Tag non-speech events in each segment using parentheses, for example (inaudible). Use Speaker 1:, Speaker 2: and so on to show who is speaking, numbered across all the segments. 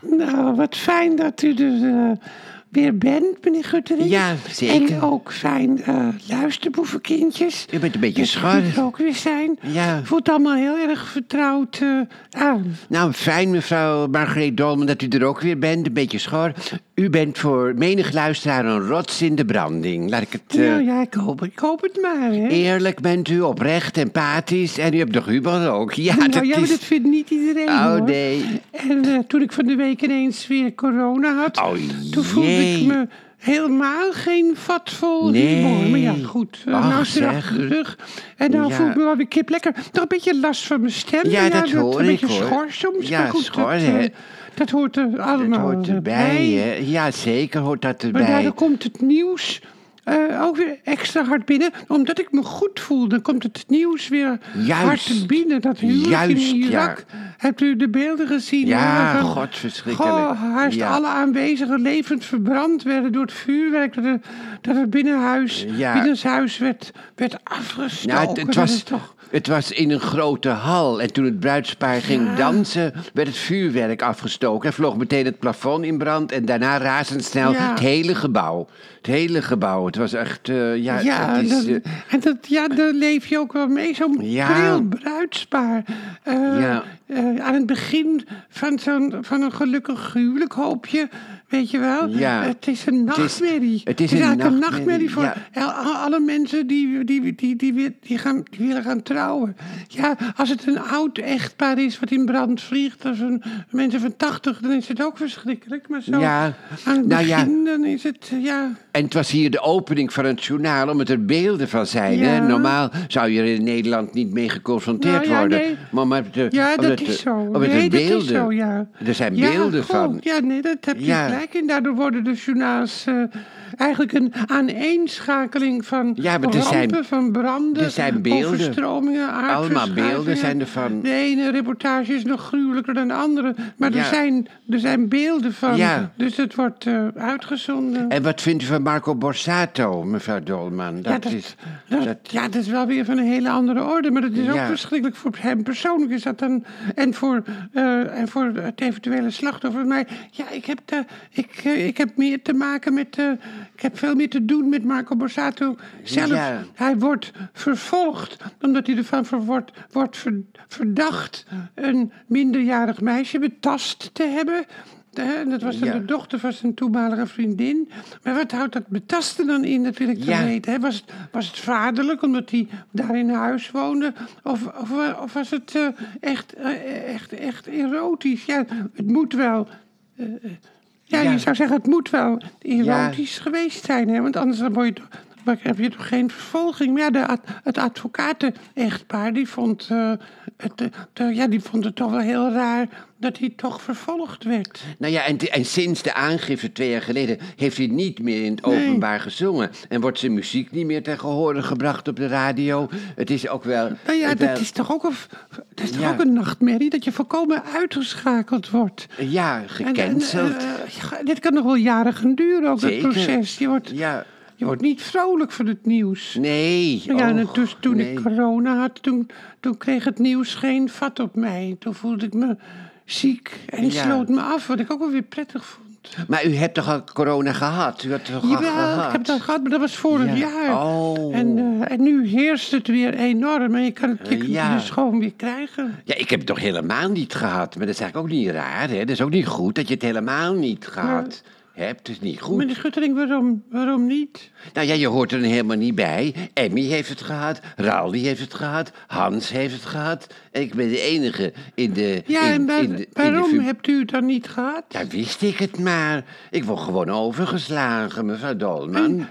Speaker 1: Nou, wat fijn dat u er eh, weer bent, meneer Guttering.
Speaker 2: Ja, zeker.
Speaker 1: En ook zijn eh, luisterboevenkindjes.
Speaker 2: U bent een beetje
Speaker 1: dus die
Speaker 2: schor.
Speaker 1: er ook weer zijn.
Speaker 2: Ja.
Speaker 1: Voelt allemaal heel erg vertrouwd eh, aan.
Speaker 2: Nou, fijn mevrouw Margreet Dolman dat u er ook weer bent. Een beetje schor. U bent voor menig luisteraar een rots in de branding. Laat ik het... eh,
Speaker 1: nou ja, ik hoop, ik hoop het maar, hè.
Speaker 2: Eerlijk bent u, oprecht, empathisch. En u hebt nog humor ook. Ja, dat
Speaker 1: nou ja, maar
Speaker 2: is...
Speaker 1: dat vindt niet iedereen,
Speaker 2: Oh,
Speaker 1: hoor.
Speaker 2: nee.
Speaker 1: En eh, toen ik van de week ineens weer corona had...
Speaker 2: Oh,
Speaker 1: toen voelde
Speaker 2: jee.
Speaker 1: ik me helemaal geen vat vol
Speaker 2: Nee.
Speaker 1: humor. Maar ja, goed. eh,
Speaker 2: Ach,
Speaker 1: nou is het weer achter de
Speaker 2: zeg.
Speaker 1: rug. En nou
Speaker 2: Ja.
Speaker 1: voel ik me wel weer kip lekker. Toch een beetje last van mijn stem.
Speaker 2: Ja,
Speaker 1: Maar
Speaker 2: dat hoor
Speaker 1: Een
Speaker 2: ik,
Speaker 1: beetje
Speaker 2: hoor.
Speaker 1: schor soms.
Speaker 2: Ja,
Speaker 1: maar goed,
Speaker 2: schor,
Speaker 1: dat,
Speaker 2: hè.
Speaker 1: eh, dat hoort er
Speaker 2: Het
Speaker 1: allemaal
Speaker 2: hoort
Speaker 1: eh,
Speaker 2: erbij, hè? Ja, zeker hoort dat
Speaker 1: maar
Speaker 2: erbij.
Speaker 1: daardoor komt het nieuws eh, ook weer extra hard binnen. Omdat ik me goed voel, dan komt het nieuws weer
Speaker 2: Juist.
Speaker 1: hard binnen. Dat huwelijk
Speaker 2: Juist,
Speaker 1: in
Speaker 2: ja.
Speaker 1: Irak. Hebt u de beelden gezien?
Speaker 2: Ja,
Speaker 1: Hoe er-
Speaker 2: godverschrikkelijk.
Speaker 1: Goh, haast
Speaker 2: Ja.
Speaker 1: alle aanwezigen levend verbrand werden door het vuurwerk. Dat het, dat het binnenhuis,
Speaker 2: Ja.
Speaker 1: binnenshuis werd, werd afgestoken.
Speaker 2: Nou, het, het
Speaker 1: Dat is
Speaker 2: was,
Speaker 1: toch...
Speaker 2: het was in een grote hal. En toen het bruidspaar ging dansen, werd het vuurwerk afgestoken. Er vloog meteen het plafond in brand. En daarna razendsnel
Speaker 1: Ja.
Speaker 2: het hele gebouw. Het hele gebouw. Het was echt, eh, ja,
Speaker 1: Ja,
Speaker 2: het is,
Speaker 1: dat-
Speaker 2: eh,
Speaker 1: en dat, ja, daar leef je ook wel mee. Zo'n
Speaker 2: Ja.
Speaker 1: pril bruidspaar. Eh,
Speaker 2: Ja.
Speaker 1: eh, aan het begin van, zo'n, van een gelukkig huwelijk, hoop je. Weet je wel?
Speaker 2: Ja.
Speaker 1: Het is een
Speaker 2: Het is-
Speaker 1: nachtmerrie.
Speaker 2: het is een
Speaker 1: eigenlijk een
Speaker 2: nachtmerrie,
Speaker 1: nachtmerrie voor el- a- alle mensen die, die, die, die, die, weer- die, gaan, die willen gaan trouwen. Ja, als het een oud echtpaar is wat in brand vliegt, als een, mensen van 80, dan is het ook verschrikkelijk. Maar zo
Speaker 2: Ja.
Speaker 1: aan het
Speaker 2: Nou ja.
Speaker 1: begin, dan is het. Ja,
Speaker 2: En het was hier de opening van het journaal, omdat er beelden van zijn. Hè?
Speaker 1: Ja.
Speaker 2: Normaal zou je er in Nederland niet mee geconfronteerd
Speaker 1: Nou ja,
Speaker 2: worden.
Speaker 1: nee.
Speaker 2: Maar eh, met de,
Speaker 1: Ja,
Speaker 2: omdat
Speaker 1: dat
Speaker 2: de-
Speaker 1: is zo.
Speaker 2: omdat er
Speaker 1: nee, dat
Speaker 2: beelden,
Speaker 1: is zo, ja.
Speaker 2: Er zijn
Speaker 1: Ja,
Speaker 2: beelden
Speaker 1: goh,
Speaker 2: van.
Speaker 1: Ja, nee, dat heb je
Speaker 2: Ja.
Speaker 1: gelijk. En daardoor worden de journaals eh, eigenlijk een aaneenschakeling van
Speaker 2: Ja, maar er
Speaker 1: rampen,
Speaker 2: zijn-
Speaker 1: van branden,
Speaker 2: er zijn beelden.
Speaker 1: overstromingen, aardverschuivingen.
Speaker 2: beelden zijn er van.
Speaker 1: De ene reportage is nog gruwelijker dan de andere. Maar er,
Speaker 2: Ja.
Speaker 1: zijn, er zijn beelden van.
Speaker 2: Ja.
Speaker 1: Dus het wordt eh, uitgezonden.
Speaker 2: En wat vindt u van Marco Borsato, mevrouw Dolman? Dat,
Speaker 1: Ja dat,
Speaker 2: is.
Speaker 1: dat-
Speaker 2: dat-
Speaker 1: ja, dat is wel weer van een hele andere orde. Maar dat is ook
Speaker 2: Ja.
Speaker 1: verschrikkelijk voor hem persoonlijk. Is dat dan, en, voor, eh, en voor het eventuele slachtoffer. Maar ja, ik heb, daar ik, eh, ik heb meer te maken met... eh, ik heb veel meer te doen met Marco Borsato zelf.
Speaker 2: Ja.
Speaker 1: Hij wordt vervolgd omdat hij ervan ver- wordt, wordt ver- verdacht... een minderjarig meisje betast te hebben... Eh, Dat was dan
Speaker 2: Ja.
Speaker 1: de dochter van zijn toenmalige vriendin. Maar wat houdt dat betasten dan in? Dat wil ik
Speaker 2: Ja.
Speaker 1: dan weten. hè. Was, het, was het vaderlijk omdat hij daar in huis woonde? Of, of, wa- of was het eh, echt, eh, echt, echt erotisch? Ja, het moet wel. eh, eh, ja,
Speaker 2: Ja.
Speaker 1: je zou zeggen, het moet wel erotisch geweest zijn. Hè? Want anders dan word je toch- maar heb je toch geen vervolging. Maar ja, de ad- het advocaten-echtpaar die vond, eh, het, eh, de- ja, die vond het toch wel heel raar dat hij toch vervolgd werd.
Speaker 2: Nou ja, en, en sinds de aangifte twee jaar geleden heeft hij niet meer in het openbaar gezongen. En wordt zijn muziek niet meer ten gehore gebracht op de radio. Het is ook wel.
Speaker 1: Nou ja,
Speaker 2: het Eh, wel-
Speaker 1: dat is toch ook een, dat is toch
Speaker 2: Ja.
Speaker 1: ook een nachtmerrie dat je volkomen uitgeschakeld wordt.
Speaker 2: Ja,
Speaker 1: En- en,
Speaker 2: gecanceld.
Speaker 1: eh, ja, dit kan nog wel jaren gaan duren, ook het
Speaker 2: Zeker.
Speaker 1: proces. Je wordt,
Speaker 2: ja.
Speaker 1: je wordt niet vrolijk van het nieuws.
Speaker 2: Nee.
Speaker 1: Nou ja, en
Speaker 2: och,
Speaker 1: dus toen
Speaker 2: nee.
Speaker 1: ik corona had, toen, toen kreeg het nieuws geen vat op mij. Toen voelde ik me ziek en
Speaker 2: Ja.
Speaker 1: sloot me af, wat ik ook wel weer prettig vond.
Speaker 2: Maar u hebt toch al corona gehad? U had toch al
Speaker 1: Jawel,
Speaker 2: gehad?
Speaker 1: ik heb dat gehad, maar dat was vorig
Speaker 2: Ja.
Speaker 1: jaar.
Speaker 2: Oh. Eh,
Speaker 1: En, eh, en nu heerst het weer enorm en je kan het je kunt het
Speaker 2: ja.
Speaker 1: dus gewoon weer krijgen.
Speaker 2: Ja, ik heb het toch helemaal niet gehad. Maar dat is eigenlijk ook niet raar, hè? Dat is ook niet goed dat je het helemaal niet gehad hebt. Dat is niet goed.
Speaker 1: Meneer Schuttering, waarom, waarom niet?
Speaker 2: Nou ja, je hoort er helemaal niet bij. Emmy heeft het gehad, Raldi heeft het gehad, Hans heeft het gehad. En ik ben de enige in de...
Speaker 1: Ja,
Speaker 2: in,
Speaker 1: en waar-
Speaker 2: in de- in de
Speaker 1: waarom
Speaker 2: fam-
Speaker 1: hebt u het dan niet gehad?
Speaker 2: Ja, wist ik het maar. Ik word gewoon overgeslagen, mevrouw
Speaker 1: (laughs)
Speaker 2: Dolman.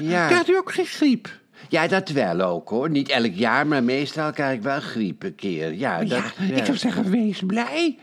Speaker 2: Ja.
Speaker 1: Krijgt u ook geen griep?
Speaker 2: ja, dat wel ook, hoor. Niet elk jaar, maar meestal krijg ik wel griep een keer. Ja, dat,
Speaker 1: Oh Ja, ik zou zeggen, wees blij.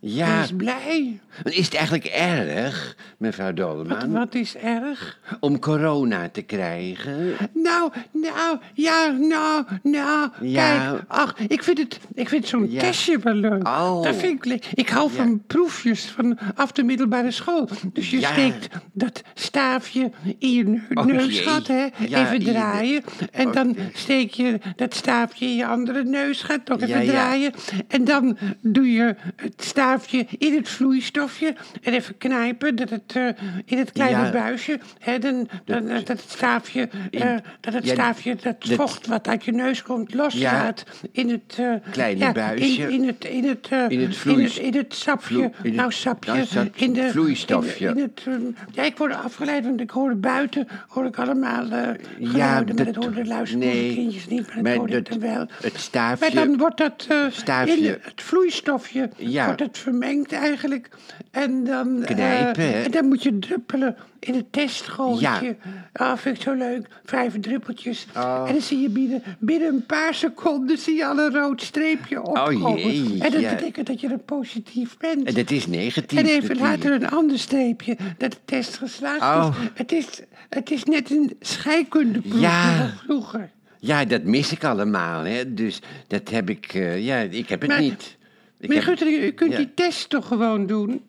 Speaker 2: Ja.
Speaker 1: Wees blij.
Speaker 2: Maar Is het eigenlijk erg, mevrouw
Speaker 1: Wat,
Speaker 2: Dolman,
Speaker 1: wat is erg?
Speaker 2: om corona te krijgen?
Speaker 1: Nou, nou, ja, nou, nou.
Speaker 2: Ja.
Speaker 1: Kijk, ach, ik vind, het, ik vind zo'n
Speaker 2: Ja.
Speaker 1: testje wel leuk.
Speaker 2: Oh.
Speaker 1: Dat vind ik leuk. Ik hou
Speaker 2: Ja.
Speaker 1: van proefjes vanaf de middelbare school. Dus je
Speaker 2: Ja.
Speaker 1: steekt dat staafje in je neu-
Speaker 2: Oh,
Speaker 1: neusgat,
Speaker 2: jee.
Speaker 1: hè.
Speaker 2: Ja, in
Speaker 1: even
Speaker 2: je-
Speaker 1: draaien. En
Speaker 2: Oh,
Speaker 1: dan
Speaker 2: ja.
Speaker 1: steek je dat staafje in je andere neusgat, nog
Speaker 2: Ja,
Speaker 1: even
Speaker 2: ja.
Speaker 1: draaien. En dan doe je het staafje in het vloeistofje en even knijpen dat het eh, in het kleine
Speaker 2: Ja.
Speaker 1: buisje, hè, dan, dan, dat het staafje, eh, dat, het
Speaker 2: ja,
Speaker 1: staafje dat
Speaker 2: dat-
Speaker 1: vocht wat uit je neus komt loslaat in het eh,
Speaker 2: Kleine
Speaker 1: ja,
Speaker 2: buisje.
Speaker 1: in, in het in het, eh,
Speaker 2: In het
Speaker 1: in
Speaker 2: vloeis-
Speaker 1: het, in het sapje,
Speaker 2: vloe- in het-
Speaker 1: nou sapje,
Speaker 2: nou, sap-
Speaker 1: in de
Speaker 2: vloeistofje.
Speaker 1: In, in het, eh, ja, ik word afgeleid, want ik hoorde buiten hoor ik allemaal eh, geluiden, maar dat hoorden de luisterende
Speaker 2: nee,
Speaker 1: kindjes niet, maar dat
Speaker 2: maar
Speaker 1: hoorde ik
Speaker 2: dat-
Speaker 1: dan wel.
Speaker 2: Het staafje.
Speaker 1: Maar dan wordt dat eh,
Speaker 2: Staafje.
Speaker 1: in het vloeistofje
Speaker 2: Ja.
Speaker 1: wordt het vermengd eigenlijk. En dan, eh,
Speaker 2: Knijpen, hè?
Speaker 1: en dan moet je druppelen in het testgootje. Ja. vind ik zo leuk. Vijf druppeltjes.
Speaker 2: Oh.
Speaker 1: En dan zie je binnen, binnen een paar seconden zie je al een rood streepje
Speaker 2: Oh,
Speaker 1: opkomen.
Speaker 2: jee,
Speaker 1: en dat
Speaker 2: ja.
Speaker 1: betekent dat je er positief bent.
Speaker 2: En dat is negatief.
Speaker 1: En even
Speaker 2: natuurlijk.
Speaker 1: later een ander streepje dat de test geslaagd
Speaker 2: Oh.
Speaker 1: is. Het is. Het is net een scheikundeproef
Speaker 2: Ja.
Speaker 1: van vroeger.
Speaker 2: Ja, dat mis ik allemaal. Hè. Dus dat heb ik. eh, ja, ik heb het
Speaker 1: Maar-
Speaker 2: niet. Ik
Speaker 1: Meneer
Speaker 2: heb-
Speaker 1: Guttering, u kunt
Speaker 2: ja.
Speaker 1: die test toch gewoon doen?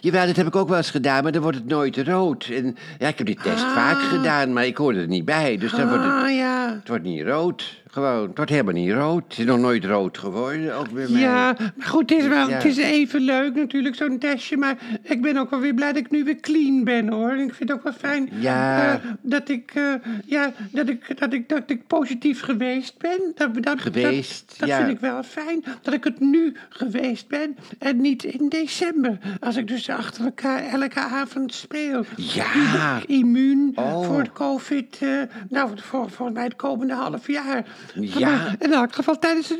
Speaker 2: Jawel, dat heb ik ook wel eens gedaan, maar dan wordt het nooit rood. En, ja, ik heb die test vaak
Speaker 1: Ah.
Speaker 2: gedaan, maar ik hoorde er niet bij. Dus dan wordt het,
Speaker 1: Ah ja.
Speaker 2: het wordt niet rood. Gewoon, het wordt helemaal niet rood. Het is nog nooit rood geworden, ook bij mij.
Speaker 1: Ja, maar goed, het is, wel,
Speaker 2: Ja.
Speaker 1: het is even leuk natuurlijk, zo'n testje. Maar ik ben ook wel weer blij dat ik nu weer clean ben, hoor. En Ik vind het ook wel fijn
Speaker 2: Ja.
Speaker 1: eh, dat, ik, eh, ja, dat, ik, dat, ik, dat ik positief geweest ben. Dat, dat, dat-
Speaker 2: Geweest,
Speaker 1: Dat,
Speaker 2: ja.
Speaker 1: vind ik wel fijn, dat ik het nu geweest ben en niet in december. Als ik dus achter elkaar elke avond speel.
Speaker 2: Ja.
Speaker 1: Nu ben ik immuun
Speaker 2: Oh.
Speaker 1: voor het covid, eh, nou, voor, voor mij het komende half jaar.
Speaker 2: Ja.
Speaker 1: Maar in elk geval tijdens de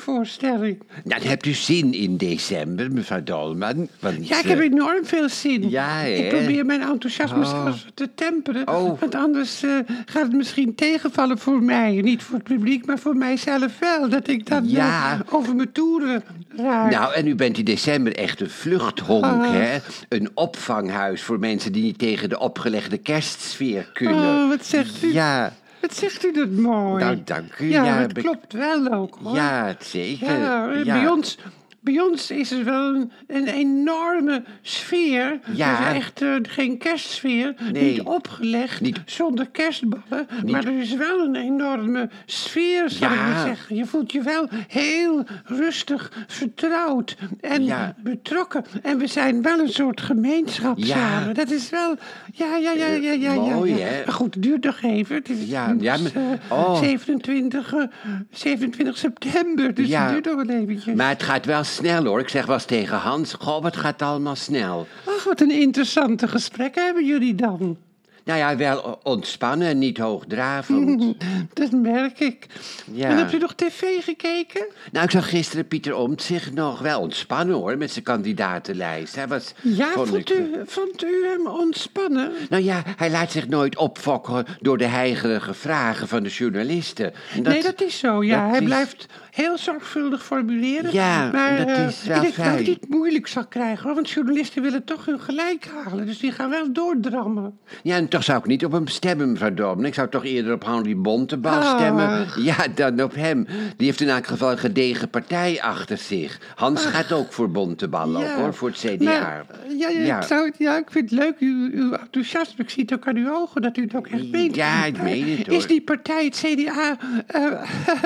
Speaker 1: decembervoorstelling.
Speaker 2: Nou, Dan hebt u zin in december, mevrouw Dolman. Want,
Speaker 1: Ja, ik heb
Speaker 2: eh,
Speaker 1: enorm veel zin.
Speaker 2: Ja, hè?
Speaker 1: ik probeer mijn enthousiasme
Speaker 2: Oh.
Speaker 1: zelfs te temperen.
Speaker 2: Oh.
Speaker 1: Want anders eh, gaat het misschien tegenvallen voor mij. Niet voor het publiek, maar voor mijzelf wel. Dat ik dan eh,
Speaker 2: Ja.
Speaker 1: over mijn toeren raak.
Speaker 2: Nou, en u bent in december echt een vluchthonk,
Speaker 1: Ah.
Speaker 2: hè? Een opvanghuis voor mensen die niet tegen de opgelegde kerstsfeer kunnen.
Speaker 1: Oh, wat zegt u?
Speaker 2: nou, Ja,
Speaker 1: Wat zegt u dat mooi.
Speaker 2: Nou, dank u.
Speaker 1: Ja,
Speaker 2: Ja,
Speaker 1: dat
Speaker 2: be-
Speaker 1: klopt wel ook hoor.
Speaker 2: ja, het zeker.
Speaker 1: Ja, eh, Bij, ons, bij ons is het wel een, een enorme sfeer.
Speaker 2: Ja.
Speaker 1: Er is echt eh, geen kerstsfeer.
Speaker 2: Nee.
Speaker 1: Niet opgelegd,
Speaker 2: Niet-
Speaker 1: zonder kerstballen. Maar er is wel een enorme sfeer, zou
Speaker 2: Ja.
Speaker 1: ik maar zeggen. Je voelt je wel heel rustig, vertrouwd en
Speaker 2: Ja.
Speaker 1: betrokken. En we zijn wel een soort gemeenschap
Speaker 2: Ja.
Speaker 1: samen. Dat is wel... Ja, ja, ja, ja, ja, ja.
Speaker 2: mooi,
Speaker 1: ja.
Speaker 2: hè?
Speaker 1: Maar goed, het duurt nog even. Het is
Speaker 2: Ja, ja,
Speaker 1: dus,
Speaker 2: maar-
Speaker 1: eh,
Speaker 2: oh.
Speaker 1: 27, eh, 27 september, dus
Speaker 2: Ja.
Speaker 1: het duurt nog wel eventjes.
Speaker 2: Maar het gaat wel snel hoor. Ik zeg wel eens tegen Hans: Goh, wat gaat allemaal snel?
Speaker 1: Ach, wat een interessante gesprekken hebben jullie dan.
Speaker 2: Nou ja, wel o- ontspannen en niet
Speaker 1: (laughs)
Speaker 2: hoogdravend.
Speaker 1: Dat merk ik.
Speaker 2: Ja.
Speaker 1: En heb je nog tv gekeken?
Speaker 2: Nou, ik zag gisteren Pieter Omtzigt nog wel ontspannen hoor, met zijn kandidatenlijst. Hij was,
Speaker 1: Ja,
Speaker 2: vond
Speaker 1: vond,
Speaker 2: ik-
Speaker 1: u, vond u hem ontspannen?
Speaker 2: Nou ja, hij laat zich nooit opfokken door de heigerige vragen van de journalisten. En
Speaker 1: nee, dat is zo, ja.
Speaker 2: dat
Speaker 1: Hij
Speaker 2: is-
Speaker 1: blijft heel zorgvuldig formuleren.
Speaker 2: Ja,
Speaker 1: maar
Speaker 2: dat
Speaker 1: eh,
Speaker 2: is wel
Speaker 1: ik denk dat
Speaker 2: fijn.
Speaker 1: hij het moeilijk zal krijgen, hoor, want journalisten willen toch hun gelijk halen. Dus die gaan wel doordrammen.
Speaker 2: Ja, en toch zou ik niet op hem stemmen, mevrouw Dorman. Ik zou toch eerder op Henry Bontebal
Speaker 1: Ach.
Speaker 2: stemmen. Ja, dan op hem. Die heeft in elk geval een gedegen partij achter zich. Hans gaat ook voor Bontebal, ook, hoor, voor het CDA.
Speaker 1: Maar, Nou, ja, ja,
Speaker 2: Ja.
Speaker 1: Ik zou, ja, ik vind het leuk, uw, uw enthousiasme. Ik zie het ook aan uw ogen dat u het ook echt meent.
Speaker 2: Ja, ik
Speaker 1: Maar
Speaker 2: meen het,
Speaker 1: Is
Speaker 2: hoor.
Speaker 1: die partij, het CDA, eh,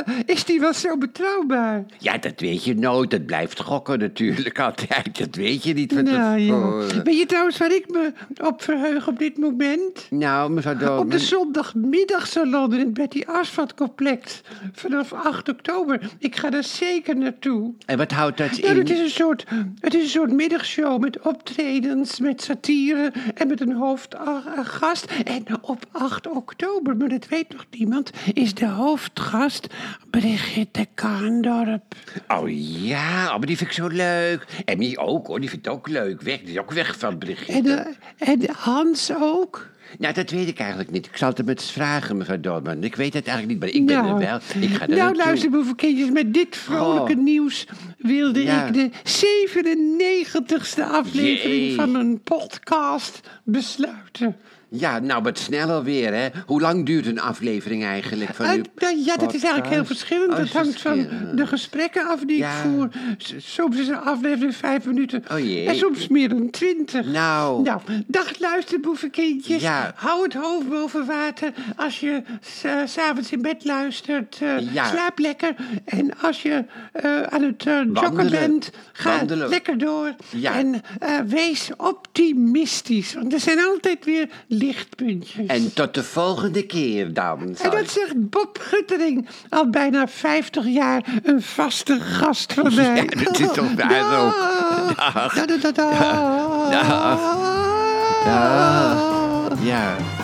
Speaker 1: (laughs) is die wel zo betrouwbaar?
Speaker 2: Ja, dat weet je nooit. Dat blijft gokken natuurlijk (laughs) altijd. Dat eh. weet je niet van
Speaker 1: Nou, ja.
Speaker 2: tevoren.
Speaker 1: Weet je trouwens waar ik me op verheug op dit moment?
Speaker 2: Nou, mevrouw Dorman.
Speaker 1: Op de zondagmiddagsalon in het Betty Asphalt complex vanaf 8 oktober. Ik ga daar zeker naartoe.
Speaker 2: En wat houdt dat
Speaker 1: Ja,
Speaker 2: in?
Speaker 1: Nou, het is, een soort, het is een soort middagshow met optredens, met satire en met een hoofdgast. En op 8 oktober, maar dat weet nog niemand, is de hoofdgast Brigitte Kaandorp.
Speaker 2: Oh ja, oh, maar die vind ik zo leuk. Emmy ook hoor, die vindt het ook leuk. Weg, die is ook weg van Brigitte.
Speaker 1: En, eh, en Hans ook.
Speaker 2: Nou, dat weet ik eigenlijk niet. Ik zal het hem eens vragen, mevrouw Dorman. Ik weet het eigenlijk niet, maar ik ben
Speaker 1: Nou,
Speaker 2: er wel. Ik ga er
Speaker 1: nou,
Speaker 2: naartoe.
Speaker 1: luister, lieve kindjes, met dit vrolijke
Speaker 2: Oh.
Speaker 1: nieuws wilde
Speaker 2: Ja.
Speaker 1: ik de 97ste aflevering
Speaker 2: Jee.
Speaker 1: van mijn podcast besluiten.
Speaker 2: Ja, nou, wat snel alweer, hè? Hoe lang duurt een aflevering eigenlijk van
Speaker 1: Eh,
Speaker 2: uw
Speaker 1: nou ja, dat is eigenlijk heel
Speaker 2: podcast?
Speaker 1: verschillend.
Speaker 2: Oh,
Speaker 1: dat
Speaker 2: is
Speaker 1: hangt van
Speaker 2: verschillend.
Speaker 1: de gesprekken af die
Speaker 2: Ja.
Speaker 1: ik voer. S- Soms is een aflevering vijf minuten.
Speaker 2: Oh jee.
Speaker 1: En soms meer dan twintig.
Speaker 2: Nou.
Speaker 1: Nou, dag luisterboevenkindjes.
Speaker 2: Ja.
Speaker 1: Hou het hoofd boven water. Als je s- eh, s s'avonds in bed luistert, eh,
Speaker 2: Ja.
Speaker 1: slaap lekker. En als je eh, aan het eh, joggen
Speaker 2: Wandelen.
Speaker 1: bent, ga
Speaker 2: Wandelen.
Speaker 1: lekker door.
Speaker 2: Ja.
Speaker 1: En eh, wees optimistisch. Want er zijn altijd weer lichtpuntjes.
Speaker 2: En tot de volgende keer dan.
Speaker 1: En
Speaker 2: zal
Speaker 1: dat
Speaker 2: ik-
Speaker 1: zegt Bob Guttering, al bijna 50 jaar een vaste gast van mij.
Speaker 2: Ja, dat is
Speaker 1: (laughs)
Speaker 2: toch waar ook.
Speaker 1: Dag. Da, da, da, da.
Speaker 2: Dag. Ja.